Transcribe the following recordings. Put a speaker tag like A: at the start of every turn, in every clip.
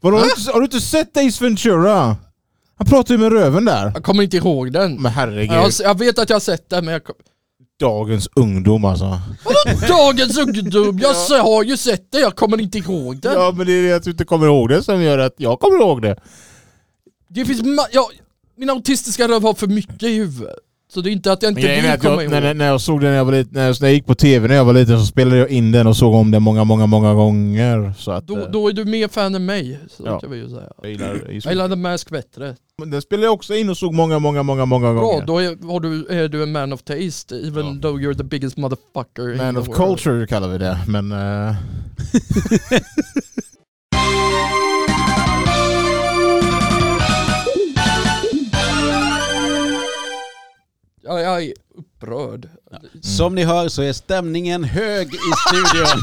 A: Vadå, har, du, inte- har du inte sett Ace Ventura? Han pratar ju med röven där.
B: Jag kommer inte ihåg den.
A: Men herregud.
B: Jag, jag vet att jag har sett den men jag kom...
A: Dagens ungdom alltså.
B: Dagens ungdom! Jag sa- har ju sett den, jag kommer inte ihåg den.
A: Ja men det är det att du inte kommer ihåg det som gör att jag kommer ihåg det.
B: Det finns ma- jag, Min autistiska röv har för mycket i huvudet. Så det är inte att jag inte
A: Grejen är
B: vill
A: att
B: komma
A: jag,
B: ihåg.
A: när, när jag såg den när jag, var liten, när, jag, när jag gick på tv när jag var liten så spelade jag in den och såg om den många, många, många gånger. Så att,
B: Då,
A: eh,
B: då är du mer fan än mig, så
A: Ja.
B: kan vi ju säga.
A: jag gillar,
B: Jag gillar The Mask bättre.
A: Men Den spelade jag också in och såg många, många, många, många
B: Bra,
A: gånger.
B: då är, har du, är du en man of taste, even
A: Ja.
B: though you're the biggest motherfucker in
A: Man
B: the
A: of
B: world.
A: culture kallar vi det, men... eh,
B: Jag, jag är upprörd.
C: Som ni hör så är stämningen hög i studion.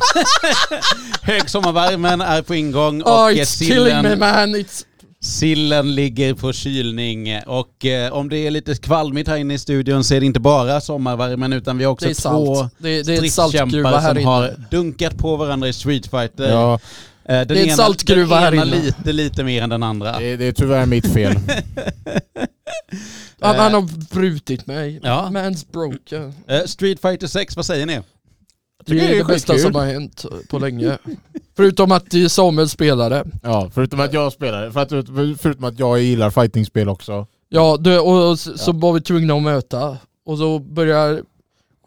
C: Högsommarvärmen är på ingång och
B: Oh,
C: eh,
B: it's killing me
C: sillen,
B: man, it's...
C: sillen ligger på kylning. Och eh, om det är lite kvalmigt här inne i studion så är det inte bara sommarvärmen utan vi har också
B: Det är
C: två
B: salt. Det är, det är ett saltgruva
C: stridskämpar
B: här
C: som
B: inne.
C: har dunkat på varandra i Street Fighter.
A: ja,
C: Eh, Den
B: är ett
C: ena,
B: saltgruva
C: den
B: här
C: ena
B: inne.
C: lite, lite mer än den andra.
A: det, det är tyvärr mitt fel.
B: Han, han
A: Eh.
B: har brutit mig.
C: Ja.
B: Man's broken.
C: Eh, Street Fighter 6, vad säger ni?
B: Det är,
A: det är
B: det bästa
A: skitkul.
B: som har hänt på länge. Förutom att det är Samuel spelare.
A: Ja, förutom att jag spelar, för att, förutom att jag gillar fightingspel också.
B: Ja, det, och så, så var vi tvungna att möta. Och så börjar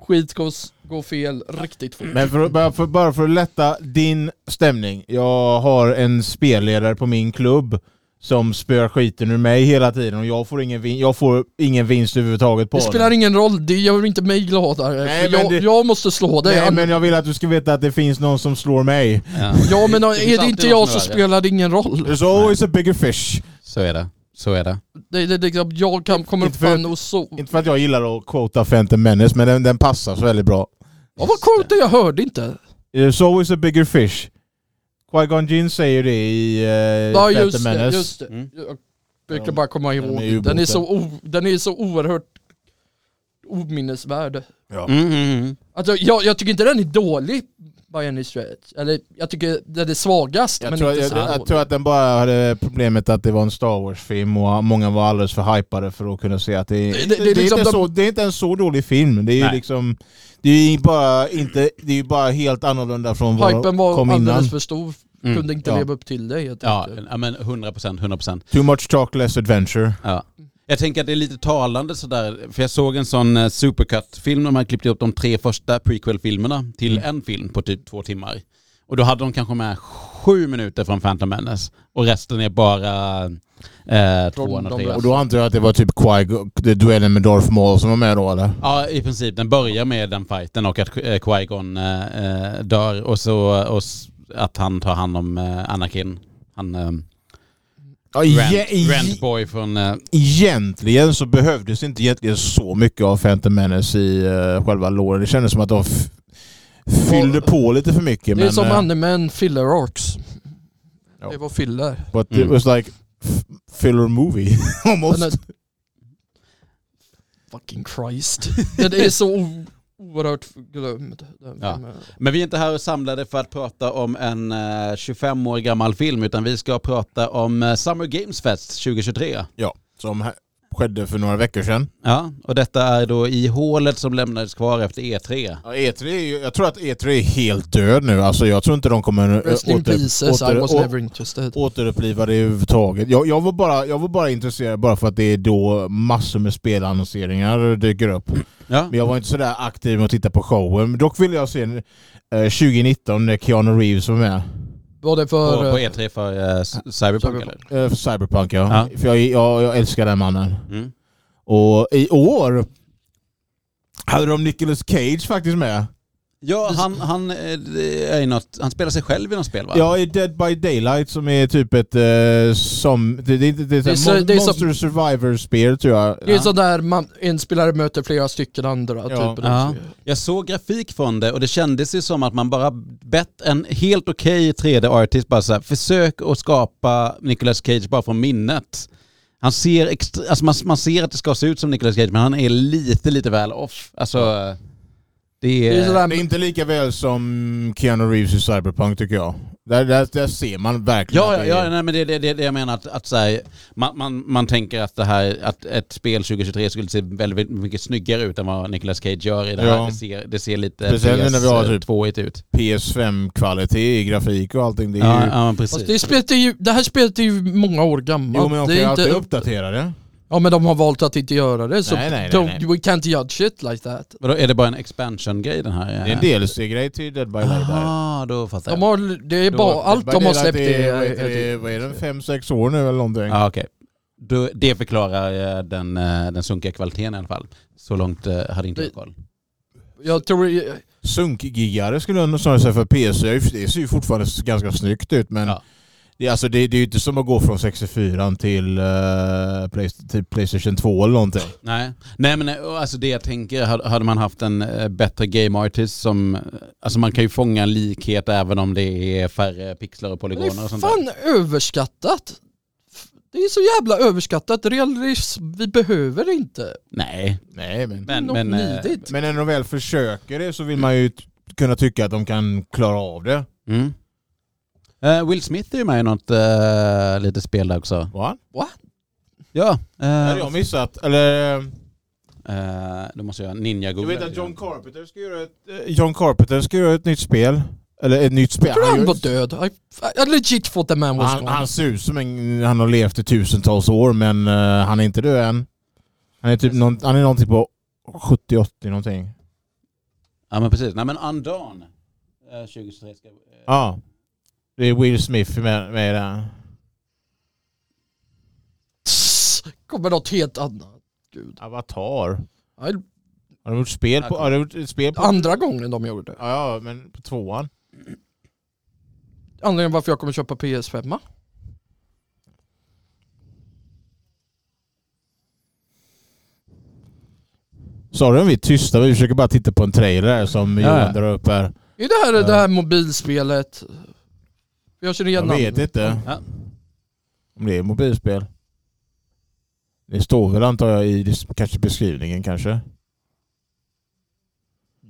B: skit gå, s- gå fel riktigt fort.
A: Men för, att- bara, för, bara för att lätta din stämning, jag har en spelledare på min klubb som spöar skiten ur mig hela tiden och jag får ingen, vin, jag får ingen vinst överhuvudtaget på
B: det spelar
A: honom.
B: ingen roll, det gör inte mig gladare.
A: Nej,
B: Nej,
A: men
B: jag,
A: det-
B: jag måste slå dig.
A: Nej men jag vill att du ska veta att det finns någon som slår mig.
C: Ja.
B: Ja men eh,
C: finns
B: är det
C: alltid
B: inte
C: någon
B: jag
C: som
B: så
C: är värre.
B: spelar det ingen roll.
A: There's always a bigger fish.
C: Så är det. Så är det.
B: Det, det, det, liksom, jag kan, kommer
A: Inte för-
B: fan och så.
A: Inte för att jag gillar att quota Phantom Menace men den, den passar så väldigt bra.
B: Ja, vad coolt det, jag hörde inte.
A: There's always a bigger fish. Qui-Gon Jinn säger det i eh,
B: Ja
A: Phantom
B: just det,
A: Menace.
B: just det.
C: Mm.
B: Jag brukar bara komma
A: Den är
B: ihåg. Den är
A: ubåten.
B: så, o, den är så oerhört ominnesvärd.
C: Mm, mm, mm.
B: Alltså, jag, jag tycker inte den är dålig by any stretch. Eller jag tycker den är svagast
A: Jag,
B: men
A: tror,
B: inte
A: jag,
B: så
A: jag,
B: dålig.
A: tror att den bara hade problemet att det var en Star Wars-film och många var alldeles för hypade för att kunna se att det,
B: det är
A: det, det, är,
B: liksom
A: inte
B: de-
A: så, det är inte en så dålig film. Det är ju
C: Nej.
A: liksom... Det är ju bara, inte, det är ju bara helt annorlunda från vad
B: Hypen
A: de
B: var
A: kom
B: alldeles
A: innan.
B: för stor,
C: Mm,
B: kunde inte
A: ja.
B: leva upp till det helt
C: Ja,
A: Typ.
B: enkelt.
C: ja, men 100 procent, 100 procent.
A: Too much talk, less adventure.
C: Ja.
A: Mm.
C: Jag tänker att det är lite talande sådär, för jag såg en sån eh, supercut-film där man klippte upp de tre första prequel-filmerna till
A: Mm.
C: en film på typ två timmar. Och då hade de kanske med sju minuter från Phantom Menace och resten är bara eh, tvåan och
B: de
C: trean.
A: Och då antar jag att det var typ Qui- det duellen med Darth Maul som var med då eller?
C: Ja, i princip. Den börjar med den fighten och att eh, Qui-Gon eh, eh, dör och så och s- att han tar hand om eh, Anakin. Han, eh,
A: Ja,
C: Rent,
A: ege-
C: Rent Boy från... Eh,
A: egentligen så behövdes inte egentligen så mycket av Phantom Menace i eh, själva låren. Det kändes som att de f- fyllde på lite för mycket.
B: Det är
A: men,
B: som
A: eh,
B: anime filler arcs.
A: Ja.
B: Det var filler.
A: But
C: Mm.
A: it was like f- filler movie almost.
B: Den är- eh, Fucking Christ. Den är så o- oerhört glömd. Den
C: Ja.
B: filmen.
C: Men vi är inte här och samlade för att prata om en eh, 25 år gammal film utan vi ska prata om eh, Summer Games Fest 2023.
A: Ja, som här- skedde för några veckor sedan.
C: Ja, och detta är då i hålet som lämnades kvar efter E E3.
A: Ja, E3 är ju, jag tror att E3 är helt död nu. Alltså, jag tror inte de kommer eh,
B: Rest in pieces, I was
A: å-
B: never interested.
A: återuppliva det överhuvudtaget. Jag, jag, var bara, jag var bara intresserad bara för att det är då massor med spelannonseringar dyker upp.
C: Ja,
A: Men jag var inte sådär aktiv med att titta på showen. Men Dock ville jag se eh, 2019 när Keanu Reeves var med.
B: Var det
C: på,
B: för...
C: på
B: eh,
C: E3 för eh, c- Cyberpunk eller?
A: Eh, för Cyberpunk ja.
C: Ja.
A: För jag, jag, jag älskar den mannen.
C: Mm.
A: Och i år hade de Nicolas Cage faktiskt med.
C: Ja, han, han, eh, det är i något, han spelar sig själv i något spel va?
A: Ja, i Dead by Daylight som är typ ett eh, som... Det, det, det, det,
B: Det är
A: är
B: så-
A: så, mon-
B: det är så-
A: Monster Survivor-spel tror jag.
B: Det är
C: Ja.
B: sån där man, en spelare möter flera stycken andra.
A: Ja.
B: Typ.
C: Ja, jag såg grafik från det och det kändes ju som att man bara bett en helt okej 3D-artist bara så här, försök att skapa Nicolas Cage bara från minnet. Han ser extre- alltså man, man ser att det ska se ut som Nicolas Cage men han är lite, lite väl off. Alltså, Det
B: Det är
C: är...
B: sådär,
A: Det är inte lika väl som Keanu Reeves i Cyberpunk tycker jag. Där, där, där ser man verkligen
C: Ja,
A: att
C: ja,
A: det
C: ja
A: är-
C: nej, men det är det, det, det jag menar. Att, att så här, man, man, man tänker att, det här, att ett spel 2023 skulle se väldigt mycket snyggare ut än vad Nicolas Cage gör i det här.
A: Ja.
C: Det, ser, det ser lite
A: Speciellt nu när vi har typ-
C: PS2-igt ut.
A: PS5-kvalitet i grafik och allting. Det är
C: Ja,
A: ju...
C: ja, precis.
B: Fast det, spelet är ju, det här spelet är ju många år gammalt.
A: Jo men de kan
B: det
A: ju
B: är
A: alltid
B: inte,
A: uppdatera det.
B: ja men de har valt att inte göra det så
A: Nej, nej, nej, nej.
B: don't- we can't judge shit like that.
C: Vadå, är det bara en expansion-grej den här?
A: Det är en DLC-grej till Dead by Daylight.
C: Ah, då fattar jag.
B: De har, det är
C: Då-
B: bara, allt
A: Dead by
B: de har
A: Daylight
B: släppt
A: är... vad
B: är...
A: heter det, Vad är den? Fem, sex år nu eller någonting?
C: Ja, okej. Då- Det förklarar eh, den, eh, den sunkiga kvaliteten i alla fall. Så långt eh, hade inte jag koll.
B: Jag tror,
A: Sunkgigare skulle jag nog snarare säga för PS. Jag- Det ser ju fortfarande ganska snyggt ut men
C: Ja.
A: det, är alltså, det, det är ju inte som att gå från 64 till, eh, Play, till Playstation 2 eller någonting.
C: Nej, Nej men eh, och alltså det jag tänker, hade hade man haft en eh, bättre game artist som... eh, Alltså man kan ju fånga en likhet även om det är färre pixlar och
B: det
C: polygoner och
B: är
C: sånt där.
B: fan överskattat. Det är så jävla överskattat, realism, vi behöver inte.
C: Nej,
A: Nej men...
C: men...
B: Något
C: men eh,
B: nidigt.
A: Men när de väl försöker det så vill man ju t- kunna tycka att de kan klara av det.
C: mm. Eh, Will Smith är ju med i något eh, litet spel där också.
A: Va?
C: Ja. eh,
A: Hade jag missat? Eller... eh,
C: eh, då måste jag ninja
A: Jag
C: googla.
A: vet att John Carpenter ska göra ett... eh, John Carpenter ska göra ett nytt spel. Eller ett nytt spel.
B: Tror han
A: gör-
B: var död? I, I legit thought the man was
A: han,
B: gone.
A: han ser ut som en... Han har levt i tusentals år men eh, han är inte död än. Han är typ någon, han är någonting på 70-80 någonting.
C: Ja men precis, nej men Undawn eh, 2023 ska... eh,
A: Ja. Det är Will Smith med, med där.
B: Tss, Kommer något helt annat. Gud.
A: Avatar.
B: I,
A: Har de gjort spel på... Har de gjort ett spel på...
B: andra gången de gjorde det.
A: Ja, ja, men på tvåan.
B: Anledningen varför jag kommer köpa PS5.
A: Sa du om vi är tysta? Vi försöker bara titta på en trailer här som
C: Ja, ja.
A: Johan drar upp här.
B: Är det här
A: Ja.
B: det här mobilspelet? Jag känner
A: Jag
B: igen
A: vet
B: namnet.
A: inte
C: Ja.
A: om det är mobilspel. Det står väl antar jag i dis- kanske beskrivningen kanske.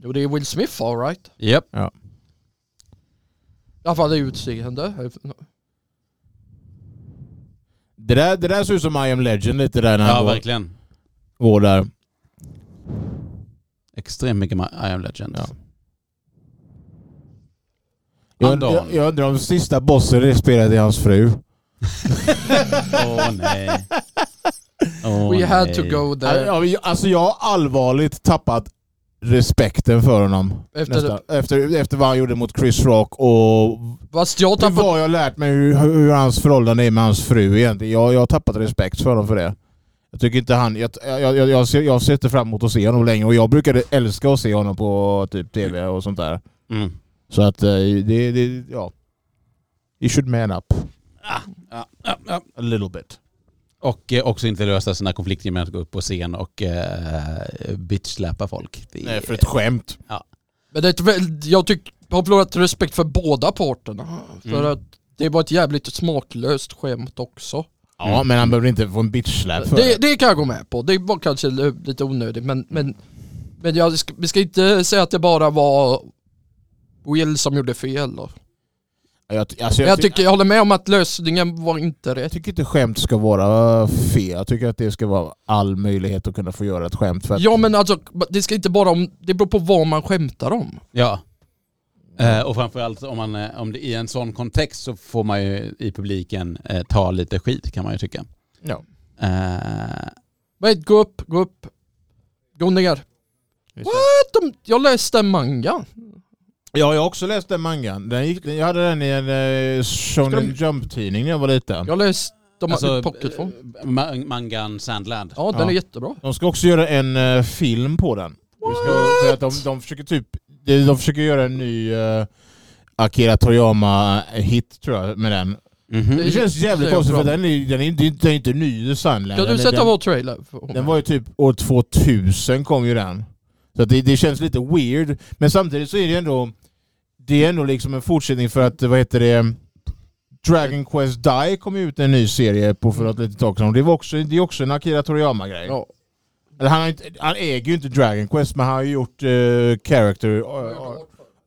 B: Jo det är Will Smith alright.
C: Japp.
B: I alla fall det utseende.
A: Det där, det där ser ut som I am legend lite där när
C: Ja
A: han går,
C: verkligen.
A: går där.
C: Extremt mycket Ma- I am legend.
A: Ja. Jag, und-
C: Andan.
A: jag, jag undrar om sista bossen är spelad i hans fru.
C: Åh nej. Åh,
B: We had
C: nej.
B: to go there.
A: Ja, vi- Alltså jag har allvarligt tappat respekten för honom.
B: Efter-
A: Nästan. efter, efter vad han gjorde mot Chris Rock och
B: Fast jag
A: Det
B: tappade...
A: var jag lärt mig hur, hur hans förhållande är med hans fru egentligen. Jag, jag har tappat respekt för honom för det. Jag tycker inte han... Jag, jag, jag, jag, ser, jag ser inte fram emot att se honom länge och jag brukade älska att se honom på typ TV och sånt där.
C: Mm.
A: Så att eh, det... det ja. You should man up.
C: Ah, Ja, ja, ja.
A: A little bit.
C: Och eh, också inte lösa sina konflikter med att gå upp på scen och eh, bitchsläpa folk. Det är-
A: Nej, för ett skämt.
B: Men det är ett väl, jag tyck, har förlorat respekt för båda parterna. För
C: Mm.
B: att det var ett jävligt smaklöst skämt också.
A: Ja, men han behöver inte få en bitch-slap för
B: Mm. Det,
A: det.
B: det kan jag gå med på. Det var kanske lite onödigt men, men, men jag ska, vi ska inte säga att det bara var Will som gjorde fel då.
A: Jag, alltså,
B: Jag,
A: jag,
B: jag,
A: ty-
B: tycker, jag håller med om att lösningen var inte
A: jag
B: rätt.
A: tycker inte skämt ska vara fel. Jag tycker att det ska vara all möjlighet att kunna få göra ett skämt. För att,
B: Ja men alltså, det ska inte bara om, det beror på vad man skämtar om.
C: Ja. Eh, och framförallt om, man, eh, om det i en sån kontext så får man ju i publiken eh, ta lite skit kan man ju tycka.
A: Ja.
C: Eh,
B: Wait, gå upp, gå upp, gå ner. Äh, De, jag läste en manga.
A: Ja, jag har också läst den mangan. Den gick, jag hade den i en eh, Shonen Jump-tidning när jag var liten.
B: Jag läste de alltså,
C: alltså,
B: pocketform.
C: eh, ma- mangan Sandland.
B: Ja den
A: ja.
B: är jättebra.
A: De ska också göra en eh, film på den. Vi ska säga att de, de försöker typ... De, de försöker göra en ny eh, Akira Toriyama-hit tror jag med den.
C: Mhm.
A: Det känns jävligt
B: Säger
A: konstigt
B: bra.
A: för den är, den är, den är, den är inte ny i Sandland.
B: Kan du
A: Den-
B: sätta
A: den,
B: vår trailer? för-
A: den var ju typ år 2000 kom ju den. Så att det, det känns lite weird. Men samtidigt så är det ändå... Det är ändå liksom en fortsättning för att, vad heter det... Dragon Quest Die kom ju ut en ny serie på för ett litet tag sedan. Det, var också, det är också en Akira Toriyama-grej.
B: Ja.
A: Eller han, har inte, han äger ju inte Dragon Quest men han har ju gjort eh, character, eh,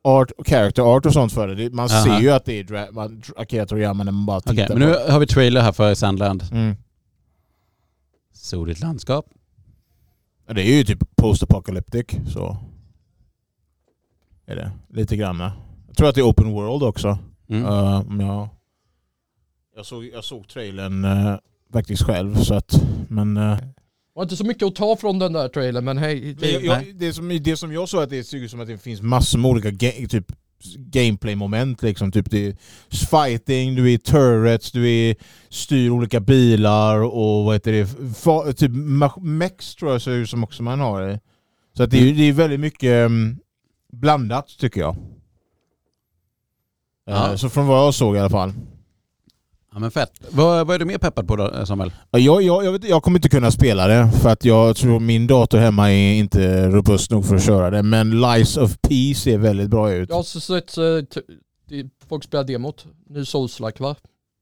A: art, character art och sånt för det. det. Man
C: Aha.
A: ser ju att det är dra- man- Akira Toriyama när man bara tittar
C: Okej, men
A: på
C: nu
A: det.
C: har vi trailer här för Sandland.
A: Mm.
C: Soligt landskap.
A: Ja, Det är ju typ post-apocalyptic så. Är det. Lite grann. ja. Jag tror att det är open world också.
C: Mm.
A: Eh, om jag, jag, såg, jag såg trailern eh, faktiskt själv så att... Men, eh,
B: var inte så mycket att ta från den där trailern men hej.
A: Men jag, jag, det, som, det som jag såg att det ser ut som att det finns massor med olika ga- typ, gameplay-moment. Liksom. Typ det är fighting, du är turrets, du är styr olika bilar och vad heter det? Fa, typ ma- mex tror jag ser ut som också man har. det. Så att det, är, ju- det är väldigt mycket mm, blandat tycker jag.
C: Ja.
A: Eh, Så från vad jag såg i alla fall.
C: Ja men fett. Vad, vad är du mer peppad på då eh, Samuel?
A: Ja, Jag, jag, jag, vet, jag kommer inte kunna spela det för att jag tror min dator hemma är inte robust nog för att köra det. Men Lies of P ser väldigt bra ut.
B: Jag har också sett eh, t- det- folk spela demot. Ny Souls-like va?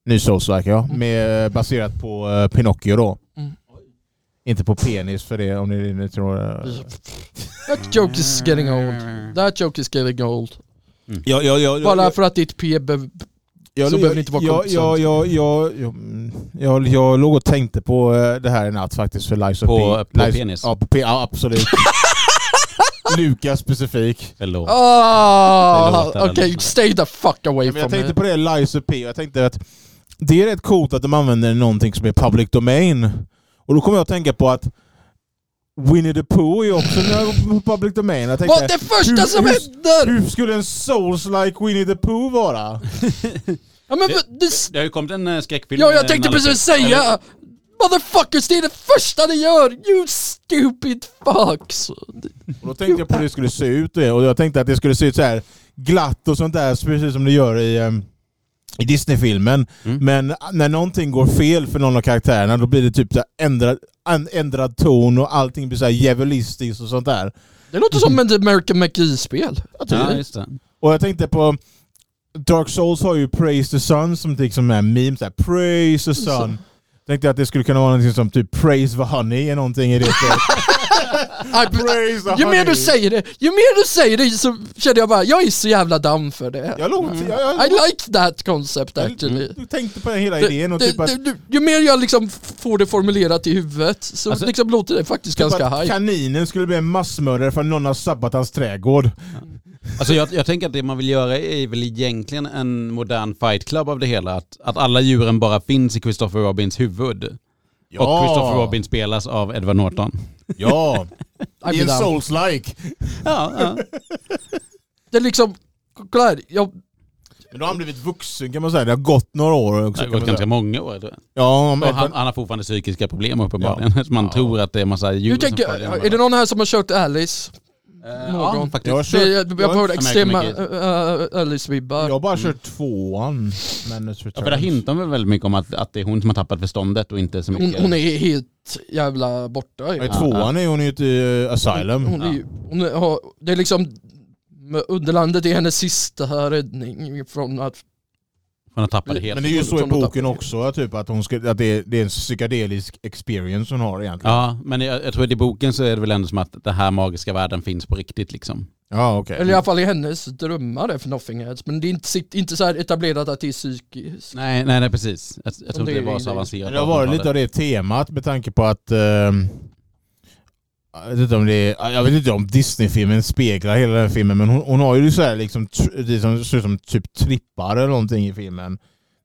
A: Ny Souls-like ja. Med, baserat på eh, Pinocchio då.
B: Mm.
A: Inte på penis för det om ni, ni tror... eh.
B: That joke is getting old. That joke is getting old.
A: Jag, jag, jag,
B: Bara för att ditt P be-
A: jag,
B: så behöver ni inte vara
A: jag,
B: kompisar.
A: jag, jag, jag, jag, mm, jag, jag låg och tänkte på eh, det här i natt faktiskt för Lies of
C: På-
A: P.
C: på
A: Lies,
C: penis?
A: Ja, på pe- ja absolut. Lukas specifik.
C: Förlåt.
B: Ah,
C: Det låter
B: okej,
C: väldigt-
B: stay the fuck away
A: Ja, men
B: from
A: jag
B: me.
A: tänkte på det, Lies of P. Jag tänkte att det är rätt coolt att de använder någonting som är public domain. Och då kommer jag att tänka på att Winnie the Pooh är också en public domain. Jag tänkte,
B: Vad det första
A: hur-
B: som
A: hur-
B: händer!
A: Hur skulle en Souls-like Winnie the Pooh vara?
B: Ja men
C: Det-
B: det, s-
C: Det har ju kommit en eh, skräckfilm.
B: ja, jag
C: eh,
B: tänkte
C: en annan-
B: precis säga! Motherfuckers, det är det första ni gör! You stupid fucks!
A: Och då tänkte jag på hur det skulle se ut och det, och jag tänkte att det skulle se ut så här glatt och sånt där, så precis som det gör i, ehm, i Disney-filmen.
C: Mm.
A: Men när någonting går fel för någon av karaktärerna då blir det typ så här ändrad, an, ändrad ton och allting blir så här djävulistiskt och sånt där.
B: Det låter som ett American McGee-spel.
C: Ja, just det.
A: Och jag tänkte på Dark Souls har ju Praise the Sun som liksom är en meme, så här, Praise the
B: Alltså.
A: Sun. Tänkte jag att det skulle kunna vara någonting som typ Praise the Honey eller någonting i det.
B: I-
A: praise the
B: Ju mer
A: honey.
B: du säger det, ju mer du säger det så känner jag bara, jag är så jävla down för det.
A: Jag, låg, jag, jag,
B: I like that concept
A: Mm.
B: actually.
A: Du tänkte på den hela
B: Det-
A: idén och
B: det-
A: typ att,
B: det- du- ju mer jag liksom f- får det formulerat i huvudet så
C: Alltså-
B: liksom låter det faktiskt
A: typ
B: ganska
A: att
B: high.
A: kaninen skulle bli en massmördare för att någon har sabbat hans trädgård.
C: Alltså jag, jag tänker att det man vill göra är väl egentligen en modern fight club av det hela. Att, att alla djuren bara finns i Christopher Robins huvud. Och Christopher Robin spelas av Edward Norton.
A: Ja,
B: I
A: i en
B: mean, um,
A: Souls-like.
C: Ja, ja.
B: Det är liksom, kolla här, jag,
A: Men då har han blivit vuxen kan man säga. Det har gått några år
C: Det
A: också.
C: har
A: Kan man
C: gått ganska
A: säga.
C: många år. tror jag.
A: Ja, om
C: Och han,
A: Edward,
C: han har fortfarande psykiska problem uppenbarligen. Så Man tror att det är en massa djur
B: nu
C: som
B: tänker,
C: följer
B: är det någon här som har kört Alice?
C: Eh, Ja,
B: någon?
C: faktiskt.
A: jag har
B: Det,
A: kört,
B: jag
A: jag
B: jag
A: har
B: får extrema
C: American
B: äh, Alice-vibbar.
A: jag har bara kört tvåan. Manus
C: Ja, för där
A: Returns.
C: hintar väl väldigt mycket om att, att det är hon som har tappat förståndet och inte så
B: Hon,
C: mycket...
B: hon är helt jävla borta.
A: Ja, I
B: ju.
A: tvåan är hon ju inte i Asylum.
B: Hon är, ju- hon är, har, det är liksom, Underlandet är hennes sista räddning från att
C: Hon har tappat det helt.
A: Men det är ju så i
B: Som de
A: boken
B: tappar.
A: också, typ, att, hon ska, att det, är, det är en psykedelisk experience hon har egentligen.
C: Ja, men jag, jag tror att i boken så är det väl ändå som att den här magiska världen finns på riktigt liksom.
A: Ja, okej.
B: Eller i alla fall i hennes drömmar där för Nothing Heads. Men det är inte, sikt- inte så här etablerat att det är psykiskt.
C: Nej, nej, nej precis. Jag, jag
B: Och
C: tror inte
B: det
C: det var
B: är-
C: så avancerat.
A: Men Det har varit lite av det temat med tanke på att ehm, jag vet, inte om det är, jag vet inte om Disney-filmen speglar hela den filmen men hon, hon har ju så här liksom, tr- det som ser ut som typ trippar eller någonting i filmen.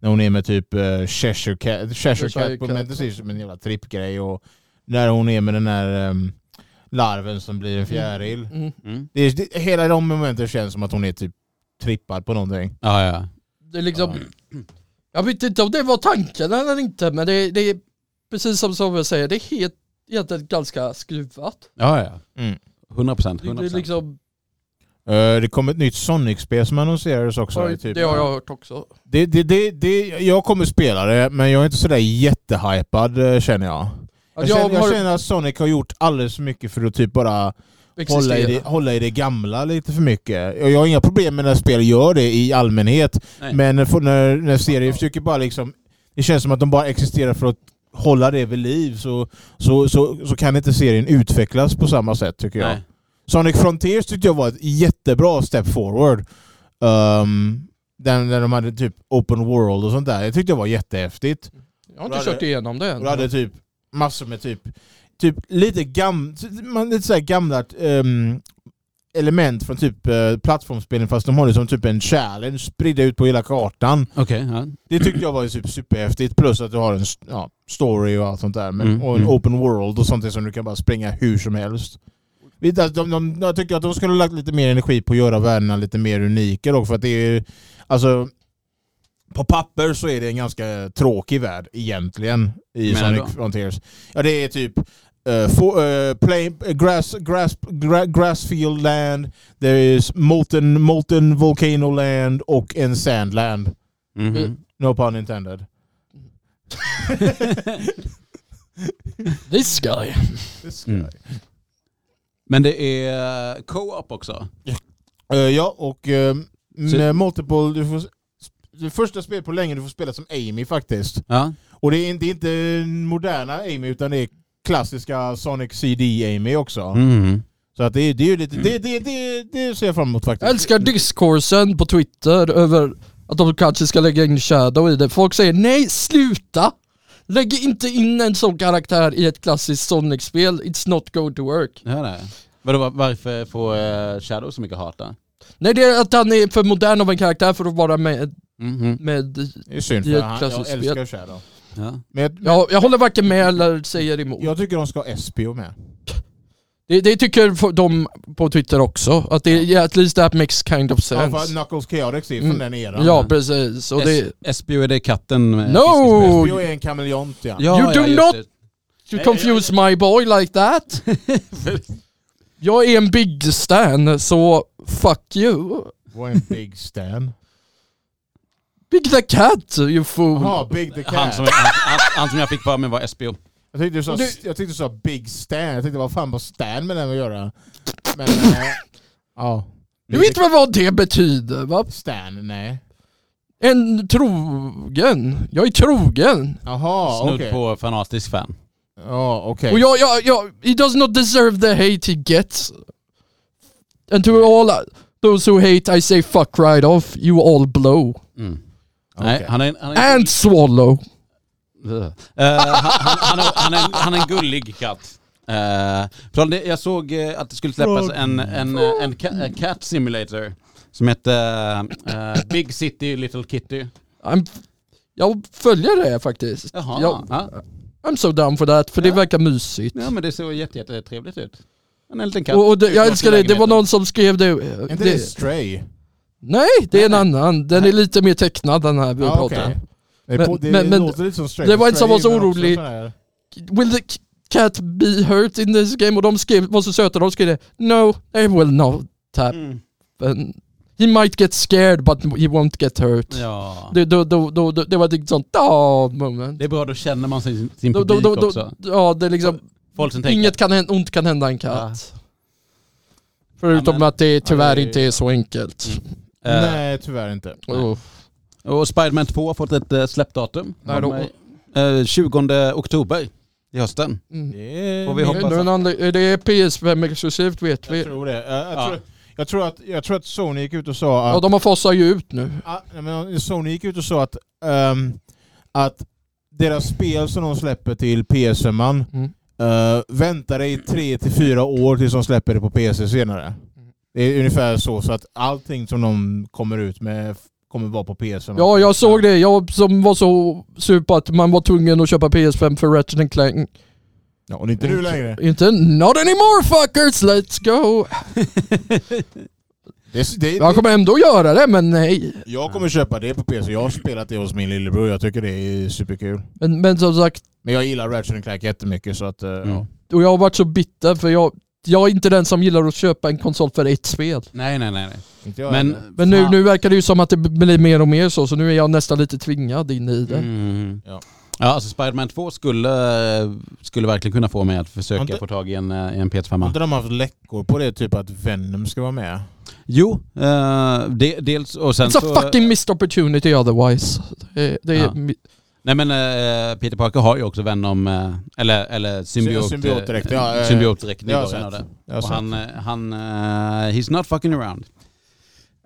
A: När hon är med typ eh, Cheshire Cat, Cheshire Cat på
B: Cat.
A: men det ser ut som en jävla trippgrej och när hon är med den där ehm, larven som blir en fjäril.
B: Mm.
C: Mm.
A: Det är, det, hela de momenten känns som att hon är typ trippad på någonting.
C: Ja, ja.
B: Det är liksom, Jag vet inte om det var tanken eller inte men det, det är precis som Samuel säger, det är helt, egentligen ganska skruvat.
C: Ja, ja.
A: Mm.
C: 100 procent.
B: Det, det, är
C: 100%.
B: liksom,
A: Eh, det kom ett nytt Sonic-spel som annonserades också. i typ-
B: det har jag hört också.
A: Det, det, det, det, jag kommer spela det, men jag är inte sådär jättehypad eh, känner jag. Jag,
B: Att
A: känner,
B: Alltså, har
A: jag känner att Sonic har gjort alldeles för mycket för att typ bara hålla i, det,
B: existerat.
A: hålla i det gamla lite för mycket. Jag jag har inga problem med när spel gör det i allmänhet,
C: Nej.
A: men för- när, när serier försöker bara liksom... Det känns som att de bara existerar för att hålla det vid liv så, så, så, så kan inte serien utvecklas på samma sätt tycker jag.
C: Nej.
A: Sonic Frontiers tyckte jag var ett jättebra step forward. Um, den där de hade typ open world och sånt där. Jag tyckte det var jättehäftigt.
B: Jag har inte
A: Då
B: kört
A: hade-
B: igenom det
A: Och det hade
B: än.
A: typ massor med typ, typ lite, gam, man- lite så här gamla ehm, element från typ eh, plattformsspelen fast de har det som typ en challenge spridda ut på hela kartan.
C: Okej, ja.
A: Det tyckte jag var ju typ superhäftigt plus att du har en s- ja, story och allt sånt där men,
C: Mm,
A: och en
C: mm.
A: open world och sånt där som du kan bara springa hur som helst. Det- De, de, de, jag tycker att de skulle ha lagt lite mer energi på att göra världarna lite mer unika dock för att det är ju, alltså på papper så är det en ganska tråkig värld egentligen i
C: Men
A: Sonic
C: ändå.
A: Frontiers. Ja det är typ eh, få- eh, plain, eh, grass, grass, gra, grassfield land, there is molten, molten volcano land och en sandland.
C: Mhm.
B: Mm.
A: No pun intended.
B: This guy.
C: Mm. Men det är eh, co-op också.
A: Eh, ja, och eh,
C: Så-
A: med multiple, du får, s- det första spelet på länge du får spela som Amy faktiskt.
C: Ja.
A: Och det är, inte- det är inte moderna Amy utan det är klassiska Sonic CD Amy också.
C: Mhm.
A: Så att det, är- det är ju
C: Mm.
A: lite, det, det, det, det ser jag fram emot faktiskt.
B: Jag älskar discoursen på Twitter över att de kanske ska lägga in Shadow i det. Folk säger nej, sluta! Lägg inte in en sån karaktär i ett klassiskt Sonic-spel. It's not going to work.
C: Det här är. Vadå, var- varför får eh, Shadow så mycket hat där?
B: Nej, det är att han är för modern av en karaktär för att vara med...
C: Mhm.
B: med
A: Det är synd
B: Det är
A: för
B: ett
A: han, jag
B: klassiskt
A: älskar Shadow.
C: Ja.
A: Men jag,
B: jag, jag håller varken med eller säger emot.
A: jag tycker de ska ha Espio med.
B: Det, det tycker f- de på Twitter också. Att det, yeah, at least that makes kind of
A: Ja, för
B: sense.
A: Knuckles Chaotix är från
B: Mm.
A: den eran.
B: Ja, precis. Och det,
C: S- SBO är det katten med
B: No!
C: fiskespö.
A: Espio är en kameleont ja.
C: Ja,
B: You
C: ja,
B: do
C: just
B: not-
C: det.
B: you confuse my boy like that. jag är en big stan, så fuck you.
A: Och en Big Stan.
B: Big the cat, you fool.
A: Jaha, Big the Cat.
C: Han som, han, han, han som jag fick för mig var SBO.
A: Jag tyckte du sa,
B: Och du-
A: jag tyckte du sa Big Stan, jag tänkte vad fan har Stan med den att göra? Men nej. Ja.
B: Du vet väl vad det betyder va?
A: Stan, nej.
B: En trogen. Jag är trogen.
A: Jaha,
C: Snudd
A: okej.
C: på fanatisk fan.
A: Ja, okej.
B: Och jag, jag, jag, he does not deserve the hate he gets. And to all those who hate I say fuck right off, you all blow.
C: Mm.
A: Okej.
C: Nej, han är, han är,
B: And swallow.
C: Ugh. Eh, han, han, han, är, han, är, han är en gullig katt. Eh, från det, jag såg eh, att det skulle släppas
A: Från-
C: en, en, eh, en, ca- en cat simulator som hette eh, Big City Little Kitty.
B: I'm, jag följer det faktiskt.
C: Jaha,
B: Jag,
C: ja.
B: I'm so down for that, för det
C: Ja.
B: verkar mysigt.
C: ja men det såg jätte- jättetrevligt ut. En liten katt.
B: och och det, jag
C: Utanför
B: älskar det, det var
C: lägenheten.
B: någon som skrev det.
A: Är inte det
B: det
A: Stray?
B: nej, det är en
C: Nej.
B: annan. Den är lite mer tecknad den här vi
A: Ja,
B: pratar
A: okej.
B: om.
A: Det, är
B: Men-
A: på- det
B: men- men-
A: låter lite som Stray.
B: det var en
A: Stray
B: som var så
A: är väl också
B: orolig.
A: sån här-
B: Will the c- cat be hurt in this game? Och de skrev, var så söta, de skrev det. No, they will not happen.
C: Mm.
B: He might get scared but he won't get hurt.
C: Ja.
B: Det, då, då, då, då, det var ett sånt ah moment.
C: Det är bra, då känner man sin, sin
B: Då,
C: publik
B: då, då, då,
C: också.
B: ja, det är liksom,
C: Folk som tänker
B: inget kan hända, ont kan hända en katt. Förutom
C: Ja, men-
B: att det tyvärr
C: Ja, det är-
B: inte är så enkelt.
C: Eh,
A: Nej, tyvärr inte.
B: Oh.
C: Och Spiderman 2 har fått ett eh, släppdatum.
B: Nej, då-
C: Eh, 20 oktober i hösten.
B: Mm.
C: Får vi
B: Det
C: hoppas
B: är en anle- det är PS5 exklusivt vet vi.
A: Jag tror det. Eh, Jag,
C: Ja.
A: tror, jag, tror att, jag tror att Sony gick ut och sa att
B: Ja, de har fasat ju ut nu.
A: Ja, nej, men Sony gick ut och sa att, ehm, att deras spel som de släpper till PS5
B: Mm.
A: eh, väntar dig 3 till fyra år tills de släpper det på PC senare. Det är ungefär så, så att allting som de kommer ut med f- kommer vara på PS5.
B: Ja, jag såg det. Jag som var så sur på att man var tvungen att köpa PS5 för Ratchet and Clank.
A: Ja, och det är inte du längre.
B: Inte not anymore fuckers, let's go!
A: Det, är- det,
B: Jag
A: det,
B: kommer ändå göra det, men nej.
A: jag kommer köpa det på PC. Jag har spelat det hos min lillebror. Jag tycker det är superkul.
B: Men, men som sagt,
A: Men jag gillar Ratchet Clank jättemycket så att... eh,
C: Mm.
A: ja.
B: och jag har varit så bitter för jag, jag är inte den som gillar att köpa en konsol för ett spel.
C: Nej, nej, nej. nej.
A: Inte jag
C: Men,
A: heller.
B: Men nu,
C: fan.
B: nu verkar det ju som att det blir mer och mer så, så nu är jag nästan lite tvingad in i det.
C: Mm.
A: Ja.
C: Ja. alltså Spiderman 2 skulle, eh, skulle verkligen kunna få mig att försöka
A: Inte-
C: få tag i en, eh, i en
A: Har
C: PS5.
A: inte de haft läckor på det? Typ att Venom ska vara med?
C: Jo, eh, de, dels och sen
B: It's a
C: så...
B: fucking missed opportunity otherwise. Det, det är
C: Ja.
B: mi-
C: Nej men eh, Peter Parker har ju också Venom, eh, eller, eller symbiot,
A: Symbiotdräkt, ja, ja, ja.
C: symbiotdräkt i
A: Det har jag
C: början av
A: sett.
C: det.
A: Jag, har
C: Och
A: sett.
C: han, eh, han eh, he's not fucking around.